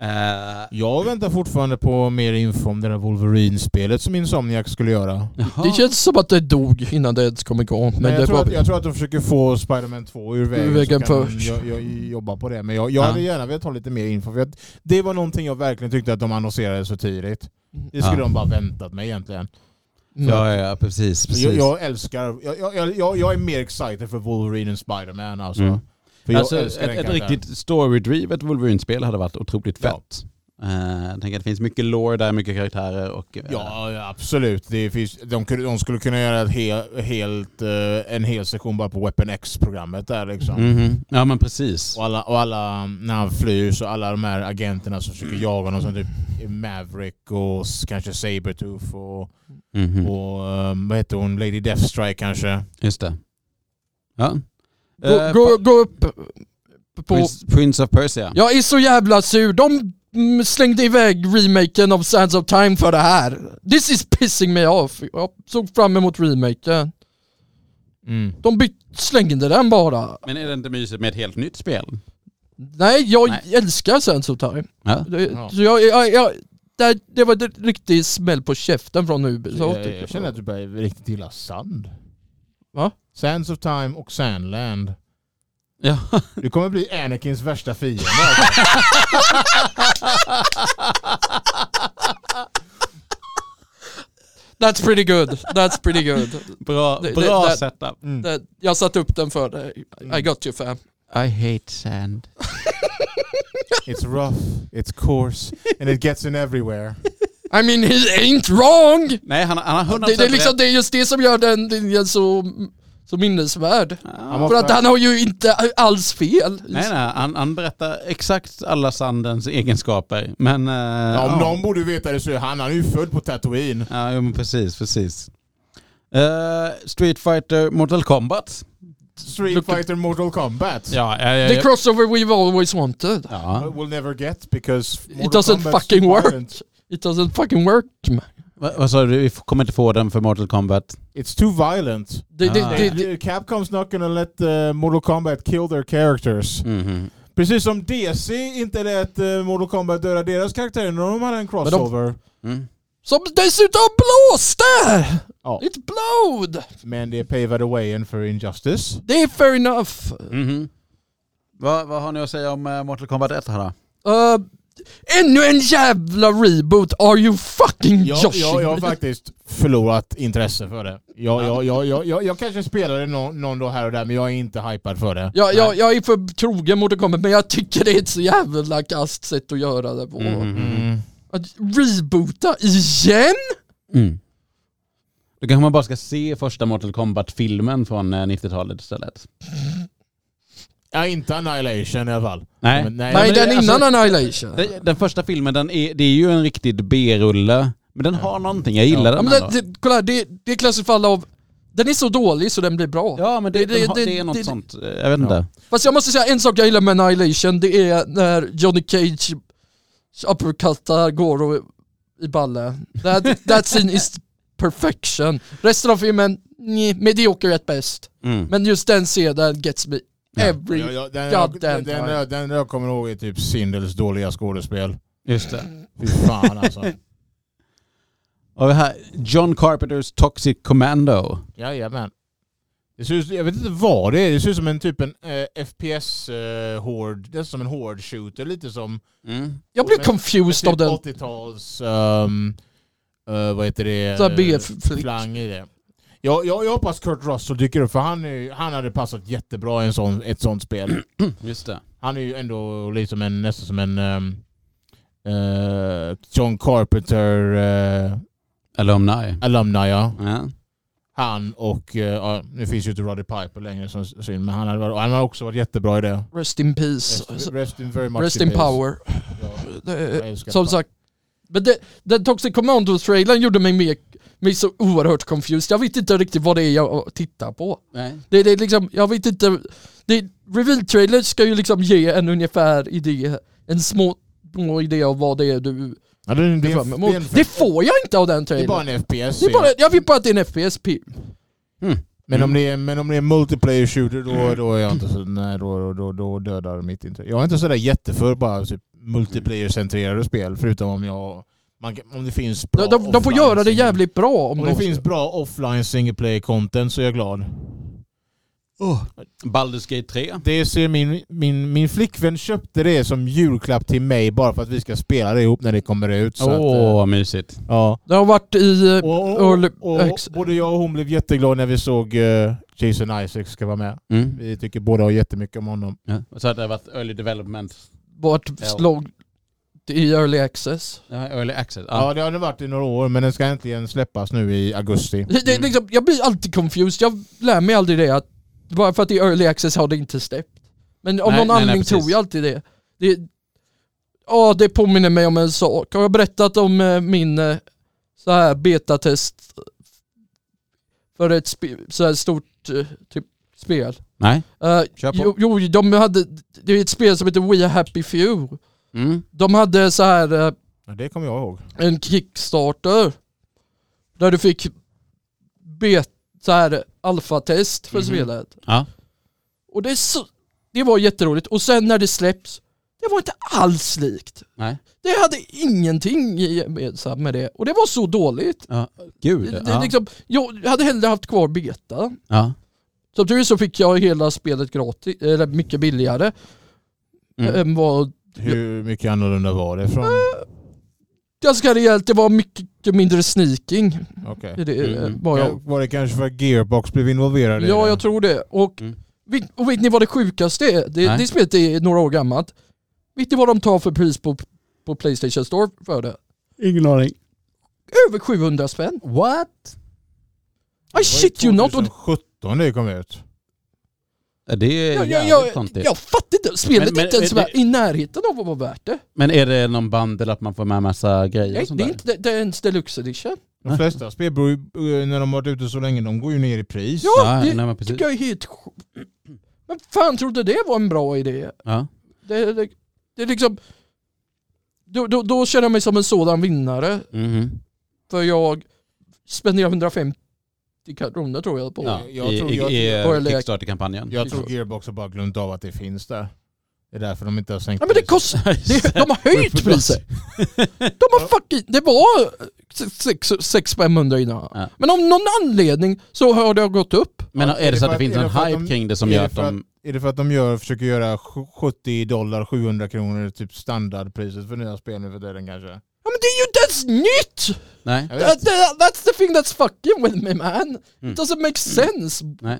C: Eh,
A: jag väntar fortfarande på mer info om det där Wolverine-spelet som Insomniac skulle göra.
C: jaha.
B: Det känns som att det dog innan det ens kom igång. Men,
A: Men jag,
B: det
A: tror
B: var...
A: att, jag tror att de försöker få Spider-Man 2 ur vägen,
B: Ur vägen
A: så kan
B: först.
A: Jag, jobba på det. Men jag, jag
C: Ja.
A: hade gärna velat ha lite mer info. För att det var någonting jag verkligen tyckte att de annonserade så tidigt. Det skulle
C: Ja.
A: de bara väntat mig egentligen.
B: Mm.
C: Ja, ja, ja, precis. precis.
A: Jag, jag älskar... Jag, jag, jag, jag är mer excited för Wolverine än Spider-Man alltså.
C: Mm.
A: För jag
C: alltså, ett,
A: älskar den
C: ett
A: karaktären.
C: riktigt storydrivet Wolverine-spel hade varit otroligt
A: Ja.
C: fett. Eh, jag tänker att det finns mycket lore där, mycket karaktärer och... eh,
A: Ja, ja, absolut. Det finns, de, kunde- de skulle kunna göra ett he, helt, eh, en hel sektion bara på Weapon X-programmet där liksom.
C: mhm. Ja men precis.
A: Och alla, och alla, när han flyr, så alla de här agenterna som försöker jaga honom som typ Maverick och s- kanske Sabretooth och,
C: Mhm.
A: och ehm, vad heter hon, Lady Deathstrike kanske.
C: Just det. Ja.
B: Gå,
C: Eh,
B: gå, gå upp på...
C: Prince, Prince of Persia.
B: Jag är så jävla sur. De mm, slängde iväg remaken av Sands of Time för det här. This is pissing me off. Jag såg fram emot remaken. De byt, slängde den bara.
C: Men är det inte mysigt med ett helt nytt spel?
B: Nej, jag
C: Nej.
B: älskar Sands of Time.
C: Ja.
B: Det,
A: Ja.
B: så jag, jag, jag, det, det var ett riktigt smäll på käften från Ubisoft.
A: Jag,
B: tycker
A: jag känner att du börjar riktigt gilla sand.
B: Va?
A: Sands of Time och Sandland.
C: ja.
A: Du kommer bli Anakins värsta fiende.
B: That's pretty good. That's pretty good.
C: Bra,
B: Det-
C: bra
B: det- det-
C: setup.
A: Mm.
B: Det, Eh, jag satte upp den för dig.
C: Mm.
B: I got you fam.
C: I hate sand.
A: It's rough, it's coarse, and it gets in everywhere.
B: I mean he ain't wrong!
C: Nej, han, han har 100%
B: Det, det, är liksom,
C: rätt.
B: det är just det som gör den linjen så, så minnesvärd.
A: Han
C: Ja.
A: var-
B: För att han har ju inte alls fel.
C: Nej, nej, han, han berättar exakt alla sandens egenskaper. Men... eh,
A: Ja,
C: ja.
A: om någon borde veta det så är han. Han är ju född på Tatooine.
C: Ja, jo, men precis, precis. Eh, Street Fighter Mortal Kombat.
A: Street
B: Look at-
A: Fighter Mortal Kombat.
C: Ja, ja, ja,
B: The crossover we've always wanted.
C: ja.
A: We'll never get because Mortal
B: doesn't
A: Kombat's
B: fucking work.
A: violent.
B: It doesn't fucking work. man.
C: Va- Vad sa du? Vi f- kommer inte få den för Mortal Kombat.
A: It's too violent.
B: Det, det,
C: Ah.
B: det, det,
A: Capcom's not gonna let uh, Mortal Kombat kill their characters.
C: Mhm.
A: Precis som DC inte lät uh, Mortal Kombat döda deras karaktärer när de hade en crossover. Men,
C: Mm.
B: som dessutom blåste!
A: ja.
B: It blowed!
A: Men det paved the way in för Injustice.
B: Det är fair enough.
C: Mhm. Vad, vad har ni att säga om eh, Mortal Kombat 1 här då?
B: Uh, ännu en jävla reboot! Are you fucking
A: Jag,
B: Yoshi?
A: jag, jag har faktiskt förlorat intresse för det. Jag, jag, jag, jag, jag, jag kanske spelar det någon, någon dag här och där men jag är inte hypad för det.
B: jag, jag, jag är för trogen mot det kommer, men jag tycker det är ett så jävla kast sätt att göra det på.
C: Mm-hmm.
A: Mm.
B: Att reboota igen?
C: Mm. Då kanske man bara ska se första Mortal Kombat-filmen från eh, 90-talet istället.
A: Ja, inte Annihilation i alla fall.
C: Nej.
A: Men
B: Nej,
A: men
B: den
A: det-
B: innan
A: alltså,
B: Annihilation.
C: Den, den första filmen, den är, det är ju en riktigt B-rulle. Men den har någonting, jag gillar
A: Ja.
B: Ja,
C: den
B: men
C: ändå.
B: det, det, kolla, här, det, det är klassiskt fall av den är så dålig så den blir bra.
C: Ja men det,
B: det-
C: den har-
B: det-
C: det är något
B: det-
C: sånt, eh, jag vet inte.
B: Fast jag måste säga en sak jag gillar med Annihilation, det är när Johnny Cage uppercuttar Goro i ballen. That, that scene is perfection. Resten av filmen, nej, medioker är ett bäst.
C: Mm.
B: Men just den scenen gets me every...
A: Ja, ja, den,
B: God
A: den, den,
B: damn time.
A: den, den jag kommer ihåg är typ Sindels dåliga skådespel.
C: Just det.
A: Fy fan alltså.
C: Och det här, John Carpenters Toxic Commando.
A: Jajamän. Det ser ut, jag vet inte vad det är, det ser ut som en typ en eh, fps eh, hård, det är som en hård shooter lite som
B: Jag blev
A: Men-
B: confused av
A: typ
B: den.
A: 80-tals, ehm, eh, vad heter det,
B: Så här B-flick.
A: flang i det. Jag, jag, jag hoppas Kurt Russell dyker upp för han, är, ju- han hade passat jättebra i en sån, ett sånt spel.
C: Just det.
A: Han är ju ändå liksom en, nästan som en ehm, eh, John Carpenter eh,
C: Alumni.
A: alumni ja.
C: Ja.
A: Han och, eh, ja, nu finns ju inte Roddy Piper längre som syn, men han, hade, varit- han har också varit jättebra i det.
B: Rest in peace.
A: Rest, rest in very much
B: Rest in
A: peace.
B: power.
A: Ja,
B: Det är-
A: jag älskar
B: Som
A: Piper.
B: sagt, men det, den Toxic Commando-trailern gjorde mig, mer, mig så oerhört confused. Jag vet inte riktigt vad det är jag tittar på.
C: Nej.
B: Det, det är liksom, jag vet inte. Det, reveal trailer ska ju liksom ge en ungefär idé, en små, små idé av vad det är du
A: Ja, det, är en- det, är
B: fram
A: en-
B: emot.
A: det, är en-
B: Det får jag inte av den
A: det är bara
B: trailern.
A: en FPS.
B: Det är bara, jag vet bara att det är en FPS. pil.
A: Men, om det är, men om det är multiplayer shooter
B: Mm.
A: då, då är jag inte så... Nej, då, då, då, då dödar mitt intresse. Jag är inte sådär jätteför bara typ multiplayer-centrerade spel förutom om jag... Man, kan- om det finns bra
B: De, de, de får
A: offline
B: göra det
A: single-
B: jävligt bra om
A: Om det
B: de
A: finns bra offline single player content så är jag glad.
C: Baldur's Gate 3.
A: Det ser min, min, min flickvän köpte det som julklapp till mig bara för att vi ska spela det ihop när det kommer ut. Så att, eh,
C: vad mysigt.
A: ja.
B: Det har varit i... eh,
A: Och, och,
B: Early-
A: och, och
B: ex-
A: både jag och hon blev jätteglada när vi såg eh, Jason Isaacs ska vara med.
C: Mm.
A: Vi tycker båda har jättemycket om honom.
C: Ja. Och Så hade det varit early development, Ja.
B: varit slog i early access.
C: Ja, early access.
A: Ja,
C: Ja.
A: det har det varit i några år men den ska äntligen släppas nu i augusti.
B: Det,
C: Mm.
B: det, är liksom, jag blir alltid confused, jag lär mig aldrig det att bara för att det är early access har det inte släppt. Men av
C: Nej,
B: någon
C: nej, nej,
B: anledning
C: precis.
B: tror jag alltid det. det ja, det påminner mig om en sak. Har jag berättat om eh, min eh, så här betatest för ett spe, så här stort eh, typ spel?
C: Nej.
B: Eh,
C: Kör på.
B: jo, jo, de hade, det är ett spel som heter We Are Happy Few.
C: Mm.
B: De hade så här eh,
A: Ja, det kommer jag ihåg.
B: en kickstarter. Där du fick bet, så här alfatest för
C: Mhm.
B: spelet.
C: Ja.
B: Och det, är så, det var jätteroligt. Och sen när det släpps, det var inte alls likt.
C: Nej.
B: Det hade ingenting gemensamt med det. Och det var så dåligt.
C: Ja. Gud.
B: Det, det,
C: ja.
B: liksom, jag hade hellre haft kvar beta.
C: ja.
B: Som tur är så fick jag hela spelet gratis, eller mycket billigare.
C: Mm.
B: Än vad,
A: Hur mycket annorlunda var det från...
B: ganska rejält, det var mycket mindre sneaking.
A: Okej.
B: i Det, eh,
C: Mm.
B: var jag
A: Ja, Var det kanske för att Gearbox blev involverade i
B: Ja,
A: det?
B: jag tror det. Och,
C: Mm.
B: vet, och vet ni vad det sjukaste är? Det,
C: Nej.
B: det spelet är några år gammalt. Vet ni vad de tar för pris på, på Playstation Store för det?
C: Ingen aning.
B: Över 700 spänn.
C: What?
A: Det var ju
B: I shit you not. Och,
A: 2017 det kom ut.
C: Ja, Det är
B: jag, jag,
C: jävligt
B: jag,
C: konstigt.
B: jag fattar inte. Spelet
C: Men- men-
B: är inte ens
C: men-
B: värt- i närheten av vad var värt det.
C: Men är det någon bundle att man får med massa grejer
B: Nej,
C: och sånt
B: det, är
C: där?
B: inte, det, det är ens deluxe edition.
A: De
C: Nej.
A: flesta spel beror ju, eh, när de har varit ute så länge, de går ju ner i pris.
B: Ja,
C: Ja,
B: det
C: nej, men precis.
B: tycker jag är helt sj- Men fan trodde det var en bra idé?
C: Ja.
B: Det, det, det är liksom... Då, då, då känner jag mig som en sådan vinnare.
C: Mhm.
B: För jag spenderar 150 kronor tror jag på.
C: ja.
A: jag
C: I,
A: tror-
C: i,
A: jag-
C: i eh,
B: På eller-
C: Kickstarter-kampanjen.
A: Jag tror Gearbox har bara glömt av att det finns där. Det är därför de inte har sänkt
B: Ja men det
A: priset.
B: kostar... Det, de har höjt priset! De har fucking... Det var eh, 600-500 innan.
C: Ja.
B: Men av någon anledning så har det gått upp.
C: Men
A: Ja,
C: är det så att det
A: för
C: finns
A: är
C: en
A: det för att
C: hype
A: de-
C: kring det som
A: är
C: gör
A: det
C: att
A: för
C: de...
A: Är det för att de gör, försöker göra sj- 70 dollar, 700 kronor, typ standardpriset för nya spel nu för tiden kanske?
B: Ja men det är ju inte ens nytt!
C: Nej.
A: Jag
B: That,
A: vet.
B: that, that's the thing that's fucking with me man.
C: Mm.
B: It doesn't make sense.
C: Nej.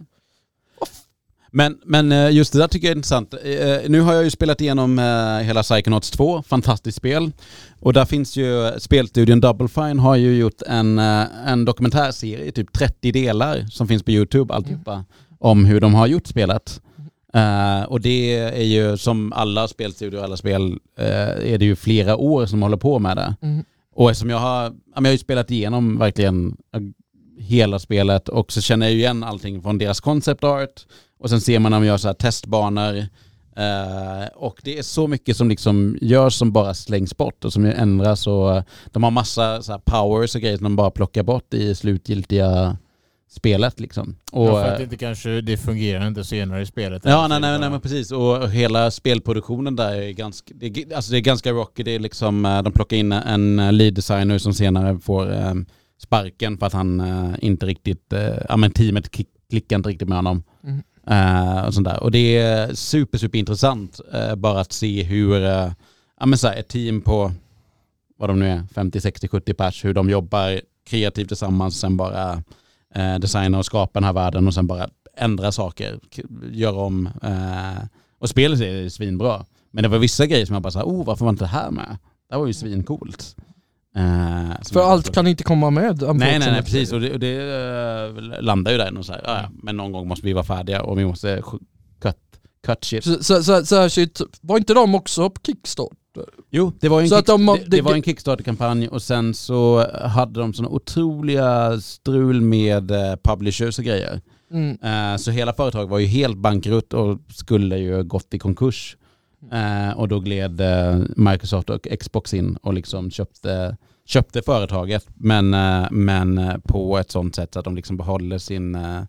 C: Men, men eh, just det där tycker jag är intressant. Eh, Nu har jag ju spelat igenom eh, hela Psychonauts 2, fantastiskt spel. Och där finns ju eh, spelstudion Double Fine har ju gjort en, eh, en dokumentärserie, typ 30 delar, som finns på YouTube alltihopa, om hur de har gjort spelet. Eh, och det är ju som alla spelstudior och alla spel eh, är det ju flera år som håller på med det.
B: Mm.
C: Och eftersom jag har, ja, men jag har ju spelat igenom verkligen eh, hela spelet och så känner jag ju igen allting från deras concept art och sen ser man när de gör så här testbanor eh, och det är så mycket som liksom görs som bara slängs bort och som ju ändras och eh, de har massa så här powers och grejer som de bara plockar bort i slutgiltiga spelet liksom. Och,
A: Ja, för att
C: eh,
A: det inte kanske, det fungerar inte senare i spelet.
C: Ja, nej, nej, nej, men precis. Och hela spelproduktionen där är ganska, det är, g- alltså det är ganska rocky. Det är liksom, eh, de plockar in en eh, lead designer som senare får eh, sparken för att han eh, inte riktigt, eh, ja men teamet ki- klickar inte riktigt med honom.
B: Mm.
C: Eh, och, sånt där. och det är super, super intressant eh, bara att se hur, eh, ja men så här, ett team på, vad de nu är, 50, 60, 70 pers, hur de jobbar kreativt tillsammans, sen bara eh, designa och skapa den här världen och sen bara ändra saker, k- göra om. Eh, och spelet är svinbra. Men det var vissa grejer som jag bara sa, oh varför var inte det här med? Det här var ju svincoolt. Eh, som
B: Mm. För
C: jag
B: allt Liksom.
C: bara-
B: kan inte komma med.
C: Nej, nej, nej,
B: unfortunately.
C: precis. Och det, och det eh, landar ju där i någon så här, "Ah, ja,
B: Mm.
C: men någon gång måste vi vara färdiga och vi måste sk- cut, cut shit.
B: Så, så, så, så här shit, var inte de också på Kickstarter?
C: Jo, det var ju en,
B: Så
C: kick,
B: att de-
C: det, det
B: det-
C: var en Kickstarter-kampanj och sen så hade de såna otroliga strul med eh, publishers och grejer.
B: Mm.
C: Eh, Så hela företaget var ju helt bankrutt och skulle ju gått i konkurs. Eh, och då gled eh, Microsoft och Xbox in och liksom köpte, köpte företaget. Men, eh, men eh, på ett sånt sätt att de liksom behåller sin, eh,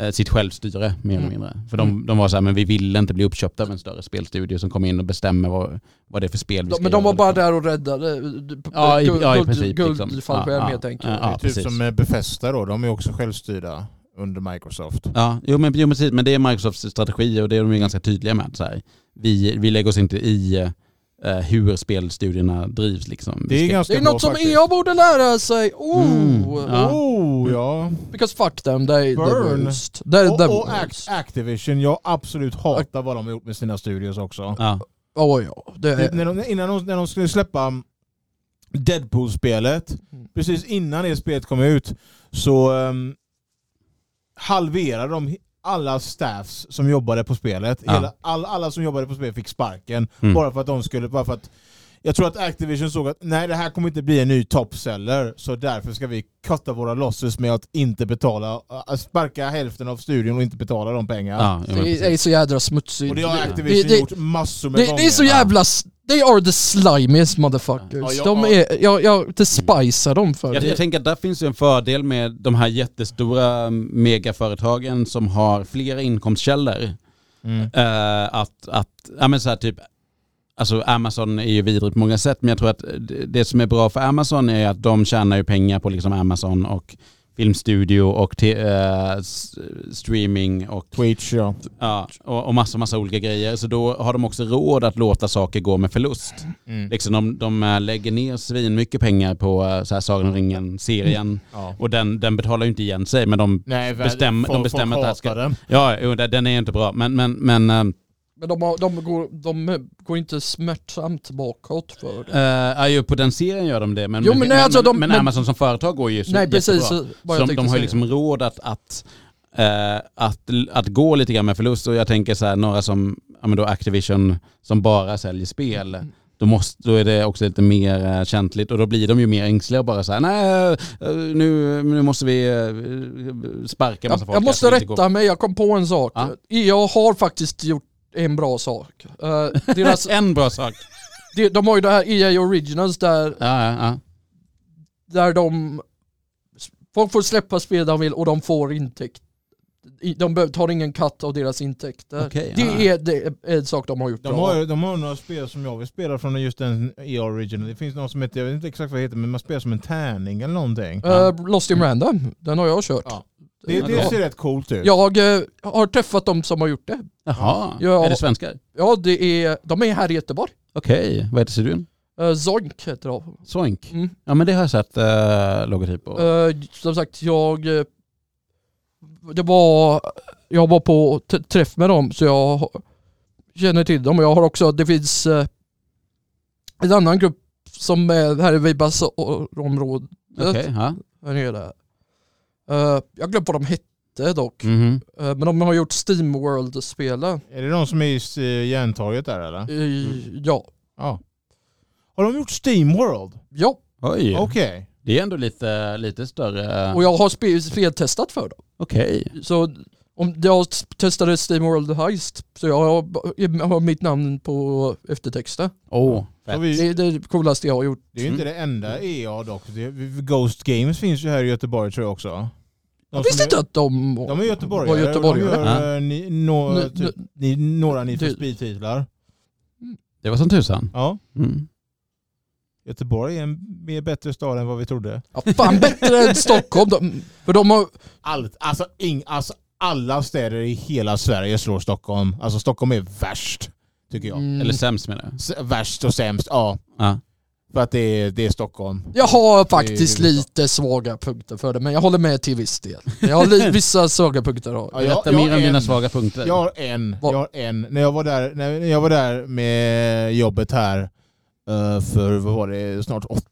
C: eh, sitt självstyre mer eller
B: Mm.
C: mindre. För de, de var så här, men vi ville inte bli uppköpta av en större spelstudio som kom in och bestämmer vad, vad det är för spel vi
B: De,
C: ska
B: men de
C: göra,
B: var bara
C: liksom.
B: där och räddade eh,
C: Ja, i,
B: guld-
C: ja, i
B: guld-
C: princip. liksom.
B: guldfallskärm
C: Ja,
B: helt
C: ja,
B: enkelt.
C: Ja,
A: typ
C: precis.
A: som eh, Bethesda då, de är också självstyrda under Microsoft.
C: Ja, jo men, jo, men precis. Men det är Microsofts strategi och det är de ju ganska tydliga med. Så här. Vi, vi lägger oss inte i eh, hur spelstudierna drivs. Liksom.
A: Det
C: Vi
A: är
C: ska-
A: ganska
B: Det är
A: bra
B: något som E
A: faktiskt.
B: EA borde lära sig. Oh,
C: Mm, ja.
A: Oh, ja.
B: Because fuck them, they, they
A: Burn. Oh,
B: roost. They, they
A: Och, och Act-
B: roost.
A: Activision, jag absolut hatar vad de har gjort med sina studios också.
C: ja.
B: Oh, ja, det
A: Det-
B: är,
A: När de, innan de, när de skulle släppa Deadpool-spelet, precis innan det spelet kom ut, så ehm, halverade de alla staffs som jobbade på spelet.
C: Ja.
A: Hela, all, alla som jobbade på spelet fick sparken.
C: Mm.
A: Bara för att de skulle... Bara för att, jag tror att Activision såg att nej, det här kommer inte bli en ny toppseller, så därför ska vi cutta våra losses med att inte betala, att sparka hälften av studion och inte betala de pengar.
C: Ja, jo, men
B: det är
C: precis.
B: så jädra smutsigt.
A: Och det har
C: Det-
A: Activision
B: det-
A: gjort massor med
B: Det,
A: gånger.
B: det är så jävla... s- They are the slimiest motherfuckers.
A: Ja, jag-
B: de är, jag, jag despisar dem för
C: jag, jag
B: det.
C: tänker att där finns ju en fördel med de här jättestora mm, megaföretagen som har flera inkomstkällor.
A: Mm.
C: Eh, att, att, ja men så här typ, alltså Amazon är ju vidrigt på många sätt, men jag tror att det- det som är bra för Amazon är att de tjänar ju pengar på liksom Amazon och filmstudio och te, eh, s- streaming och,
A: Twitch ja.
C: ja, och, och massa, massa olika grejer. Så då har de också råd att låta saker gå med förlust.
A: Mm.
C: Liksom de, de eh, lägger ner svin mycket pengar på eh, så här Sagan om ringen-serien
A: Ja.
C: och den, den betalar ju inte igen sig, men de,
A: Nej, väl,
C: Bestäm- de
A: folk,
C: bestämmer
A: folk
C: att det ska-
A: hatar den.
C: ja, jo, den den är ju inte bra, men, men, men ehm,
B: Men de, har, de, går, de går inte smärtsamt bakåt för det.
C: Uh, ja, ju på den serien gör de det. Men,
B: Jo, men nej, alltså de-
C: men
B: men-
C: Amazon som företag går ju så
B: Nej precis
C: jättebra.
B: vad
C: Så
B: jag tänkte
C: de, de har ju
B: säga.
C: liksom råd att, att, eh, att, att gå lite grann med förlust. Och jag tänker så här, några som ja, men då Activision som bara säljer spel.
B: Mm.
C: Då, måste, då är det också lite mer eh, känsligt och då blir de ju mer ängsliga och bara så här, nej eh, nu, nu måste vi eh, sparka
B: jag,
C: massa folk.
B: jag
C: här
B: måste
C: som inte går."
B: rätta mig, jag kom på en sak.
C: Ja.
B: Jag har faktiskt gjort en bra sak. Eh, deras,
C: En bra sak.
B: de, de har ju det här EA Originals där,
C: Ja, ja, ja.
B: där de... Folk får släppa spel de vill och de får intäkt. I- De be- tar ingen katt av deras intäkter.
C: Okej,
B: det,
C: ja.
B: är, det är en sak de har gjort
A: De
B: bra.
A: har, de har några spel som jag vill spela från just den EA Original. Det finns någon som heter, jag vet inte exakt vad det heter, men man spelar som en tärning eller någonting.
B: Eh, Lost in random, den har jag kört.
A: Ja. Det, det
C: Ja.
A: ser rätt coolt ut.
B: Jag eh, har träffat de som har gjort det.
C: Jaha,
B: Ja.
C: är det svenskar?
B: Ja, det är, de är här i Göteborg.
C: Okej, vad heter studion?
B: Uh, Zonk heter de.
C: Soink?
B: Mm.
C: Ja men det har jag sett eh, logotyp på.
B: Eh, som sagt, jag... eh, Det var... Jag var på t- träff med dem så jag har- känner till dem. Och jag har också... Det finns eh, en annan grupp som är här i Vibasområdet
C: Okej, ja.
B: här nere. Eh, jag glömde vad de hette dock.
C: Mhm.
B: Eh, men de har gjort Steam World-spelen.
A: Är det de som är i s- Järntorget där eller?
C: Mm.
B: Eh, Ja.
A: Ja. Har de gjort Steamworld?
B: Ja,
C: Oj,
A: Okej.
C: det är ändå lite, lite större.
B: och jag har spe- speltestat för dem.
C: Okej.
B: Så om jag s- testade Steam World Heist så jag har, jag har mitt namn på eftertexten.
C: Åh,
A: Så
C: fett. Mm.
A: Vi,
B: Det är det coolaste jag har gjort.
A: det är ju inte det enda EA dock. Det, Ghost Games finns ju här i Göteborg tror jag också.
B: Jag
A: De
B: visste
A: som
B: inte att de...
A: är, De är göteborgare.
B: Var göteborgare.
A: De gör
C: Ja.
A: eh, ni, nå-
B: Nu-
A: typ, ni, några Need for
B: Det-
A: Speed-titlar.
C: Det var som tusan.
A: Ja.
C: Mm.
A: Göteborg är en mer bättre stad än vad vi trodde.
B: Ja, fan bättre än Stockholm. De, för de har...
A: Allt, alltså, ing, alltså alla städer i hela Sverige slår Stockholm. Alltså Stockholm är värst, tycker jag.
B: Mm,
C: Eller sämst menar jag.
A: S- Värst och sämst, ja.
C: Ja.
A: För att det är, det är Stockholm.
B: jag har faktiskt
A: Det är-
B: lite svaga punkter för det, men jag håller med till viss del. Jag har li- vissa svaga punkter. då.
A: Ja, jag-
C: Berätta
A: jag
C: mer om
A: är
C: dina
A: en-
C: svaga punkter.
A: Jag har en.
B: Vad-
A: Jag har en. När jag var där, när jag var där med jobbet här eh, för vad var det, snart åt,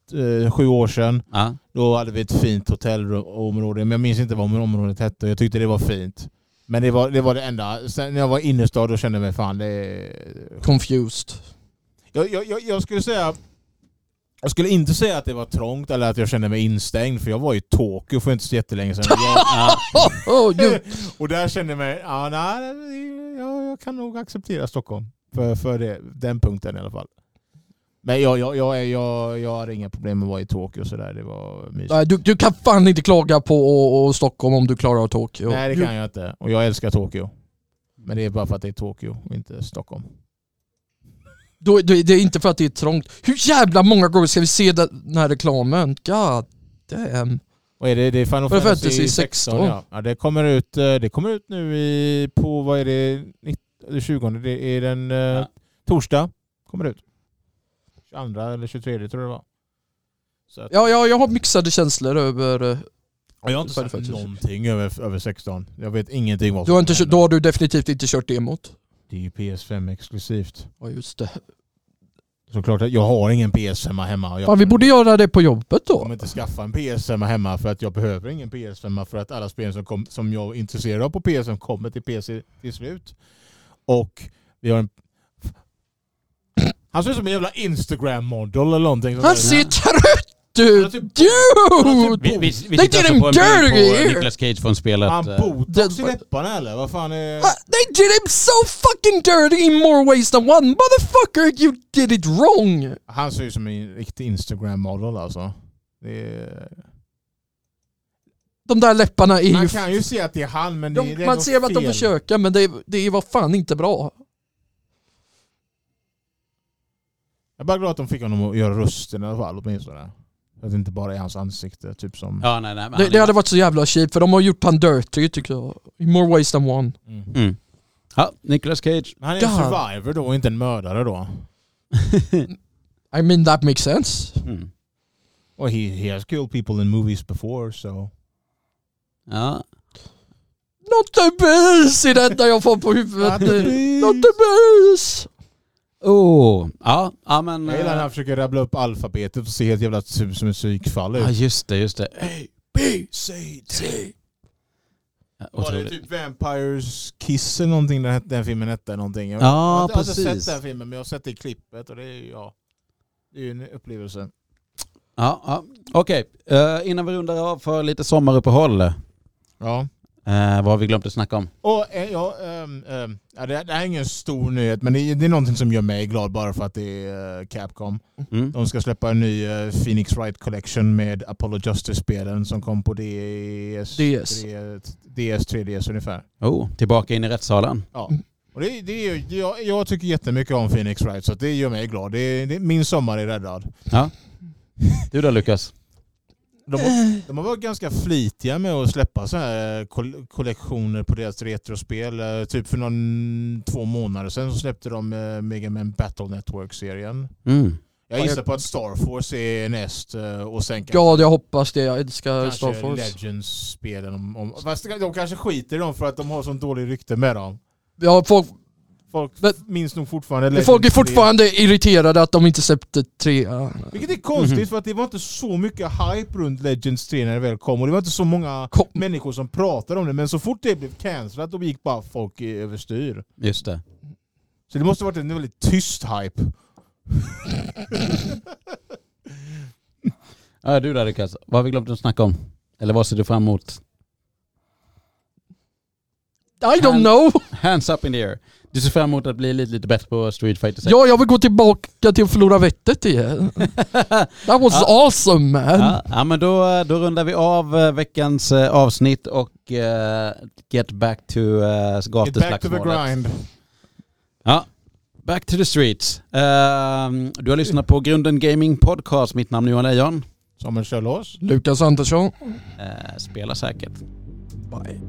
A: eh, sju år sedan.
C: Ja.
A: Då hade vi ett fint hotellområde, men jag minns inte vad området hette. Jag tyckte det var fint. Men det var det, var det enda. Sen när jag var i innerstad då kände jag mig fan, det
B: Confused.
A: Jag, jag, jag, jag skulle säga... Jag skulle inte säga att det var trångt eller att jag kände mig instängd för jag var i Tokyo för inte så jättelänge sedan. Jag,
C: Ja.
B: Oh, oh, you,
A: och där kände jag mig... Ja, nej, det- jag, jag kan nog acceptera Stockholm. För, för det, den punkten i alla fall. Men jag, jag, jag, är- jag, jag hade inga problem med att vara i Tokyo och sådär. Det var mysigt.
B: Nej, du, du kan fan inte klaga på och, och Stockholm om du klarar av Tokyo.
A: Nej, det kan jag inte. Och jag älskar Tokyo. Men det är bara för att det är Tokyo och inte Stockholm.
B: Då, då, det är inte för att det är trångt. Hur jävla många gånger ska vi se den den här reklamen? God damn.
A: Vad är det? Det är Final
B: Final
A: Fantasy, 16.
B: Fantasy 16,
A: ja. Ja, det, kommer ut, eh, det kommer ut nu i, på, vad är det, 19, 20? Det är den eh,
C: Ja.
A: torsdag. Kommer det ut. 22 eller 23 tror jag det var. Så att,
B: Ja, ja, jag har mixade känslor över... eh,
A: Och jag har inte
B: Final
A: sett
B: Fantasy.
A: någonting över, över 16. Jag vet ingenting vad
B: Du
A: som
B: har inte, kö-
A: händer.
B: då har du definitivt inte kört demot.
A: Det är ju PS5 exklusivt.
B: Ja, just det.
A: Såklart, att jag har ingen PS5 hemma. och Jag
B: Fan, vi borde göra det på jobbet
A: Jag kommer
B: då.
A: inte skaffa en PS5 hemma för att jag behöver ingen PS5 för att alla spel som, kom, som jag är intresserad av på PS5 kommer till PC till slut. Och vi har en... Han ser ut som en jävla Instagram-modell eller någonting. sånt
B: Han
A: där.
B: ser trött ut!
A: Han
B: Dude!
C: Vi, vi, vi
B: They
C: tittar alltså
B: didn't
C: på en bild
B: dare
C: på
B: here.
C: eh, Nicolas Cage från spelet.
A: Han
C: eh,
A: botox i
B: Den-
A: läpparna eller? Vad fan är...
B: Uh, they did him so fucking dirty in more ways than one. Motherfucker, you did it wrong!
A: Han ser ut som en riktig Instagram-modell alltså. Det är...
B: De där läpparna är ju...
A: Man
B: f-
A: kan ju se att det är han men det,
B: de,
A: det är
B: man
A: något
B: ser att de
A: fel.
B: försöker men det, det var fan inte bra.
A: Jag är bara glad att de fick honom att göra rösten i alla fall åtminstone. Att det inte bara är hans ansikte typ som...
C: Ja, nej, nej. men
B: Det,
C: han
B: det
C: är-
B: hade varit så jävla cheap för de har gjort han dirty tycker jag. In more ways than one.
A: Mm.
C: Mm. Ja, Nicolas Cage.
A: Men Han är en
B: God.
A: survivor då, inte en mördare då.
B: I mean that makes sense.
C: Mm.
A: Well, he, he has killed people in movies before, so...
C: Ja.
B: Not the best i detta jag får på huvudet nu. Not the best!
C: Oh. Ja, ja men...
A: Jag gillar när
C: eh,
A: han försöker rabbla upp alfabetet och ser helt jävla ut som en psykfall
C: Ja,
A: ut.
C: just det, just det. Hey,
A: B, C, D.
C: Ja,
A: Var det
C: otroligt.
A: typ Vampires Kiss eller någonting den, här- den filmen hette någonting? Jag, jag har
C: Ja,
A: inte- Jag har inte
C: precis.
A: sett den filmen men jag har sett det i klippet och det är ju ja, det är ju en upplevelse.
C: Ja, ja. Okej, eh, innan vi rundar av för lite sommaruppehåll. eh,
A: Ja.
C: vad har vi glömt att snacka om?
A: Och eh, ja, ehm, ehm, ja, det, det här är ingen stor nyhet men det, det är någonting som gör mig glad bara för att det är eh, Capcom.
C: Mm.
A: De ska släppa en ny eh, Phoenix Wright Collection med Apollo Justice-spelen som kom på DS,
B: DS.
A: 3DS ungefär.
C: Oh, tillbaka in i rättssalen.
A: Ja. Och det, det är, ju- jag, jag tycker jättemycket om Phoenix Wright så att det gör mig glad. Det, det, min sommar är räddad.
C: Du då Lukas?
A: De har, de har varit ganska flitiga med att släppa så här eh, koll- kollektioner på deras retrospel. Eh, Typ för någon, två månader sedan så släppte de eh, Mega Man Battle Network-serien.
C: Mm.
A: Jag gissar på att Star Force är näst eh, och sen kanske
B: Ja, jag hoppas det. Jag älskar Star
A: Kanske
B: Force.
A: Legends-spelen. Om, om, fast de kanske skiter i dem för att de har sån dålig rykte med dem.
B: Ja, folk,
A: Folk
B: Men-
A: minns nog fortfarande
B: folk är
A: Legends-spelen.
B: fortfarande irriterade att de inte släppte tre.
A: Vilket är konstigt
C: Mhm.
A: för att det var inte så mycket hype runt Legends 3 när det väl kom och det var inte så många
B: Kom.
A: människor som pratade om det men så fort det blev cancelat då gick bara folk i- överstyr.
C: Just det.
A: Så det måste ha varit en väldigt tyst hype.
C: Ja, du då Lukas? Vad har vi glömt att snacka om? Eller vad ser du fram emot?
B: I don't know!
C: Hands up in the air. Du ser fram emot att bli lite, lite bättre på Street Fighter 6?
B: Ja, jag vill gå tillbaka till att förlora vettet igen. That was awesome man!
C: Ja, um. ja men då, då rundar vi av eh, veckans eh, avsnitt och eh, get back to
A: Get
C: uh,
A: back to the
C: gatuslagsmålet.
A: grind.
C: Ja, back to the streets. Ehm, du har lyssnat på Grunden Gaming Podcast. Mitt namn är Johan Lejon.
A: Samuel Kjellås.
B: Lukas Andersson.
C: Eh, spela säkert.
B: Bye.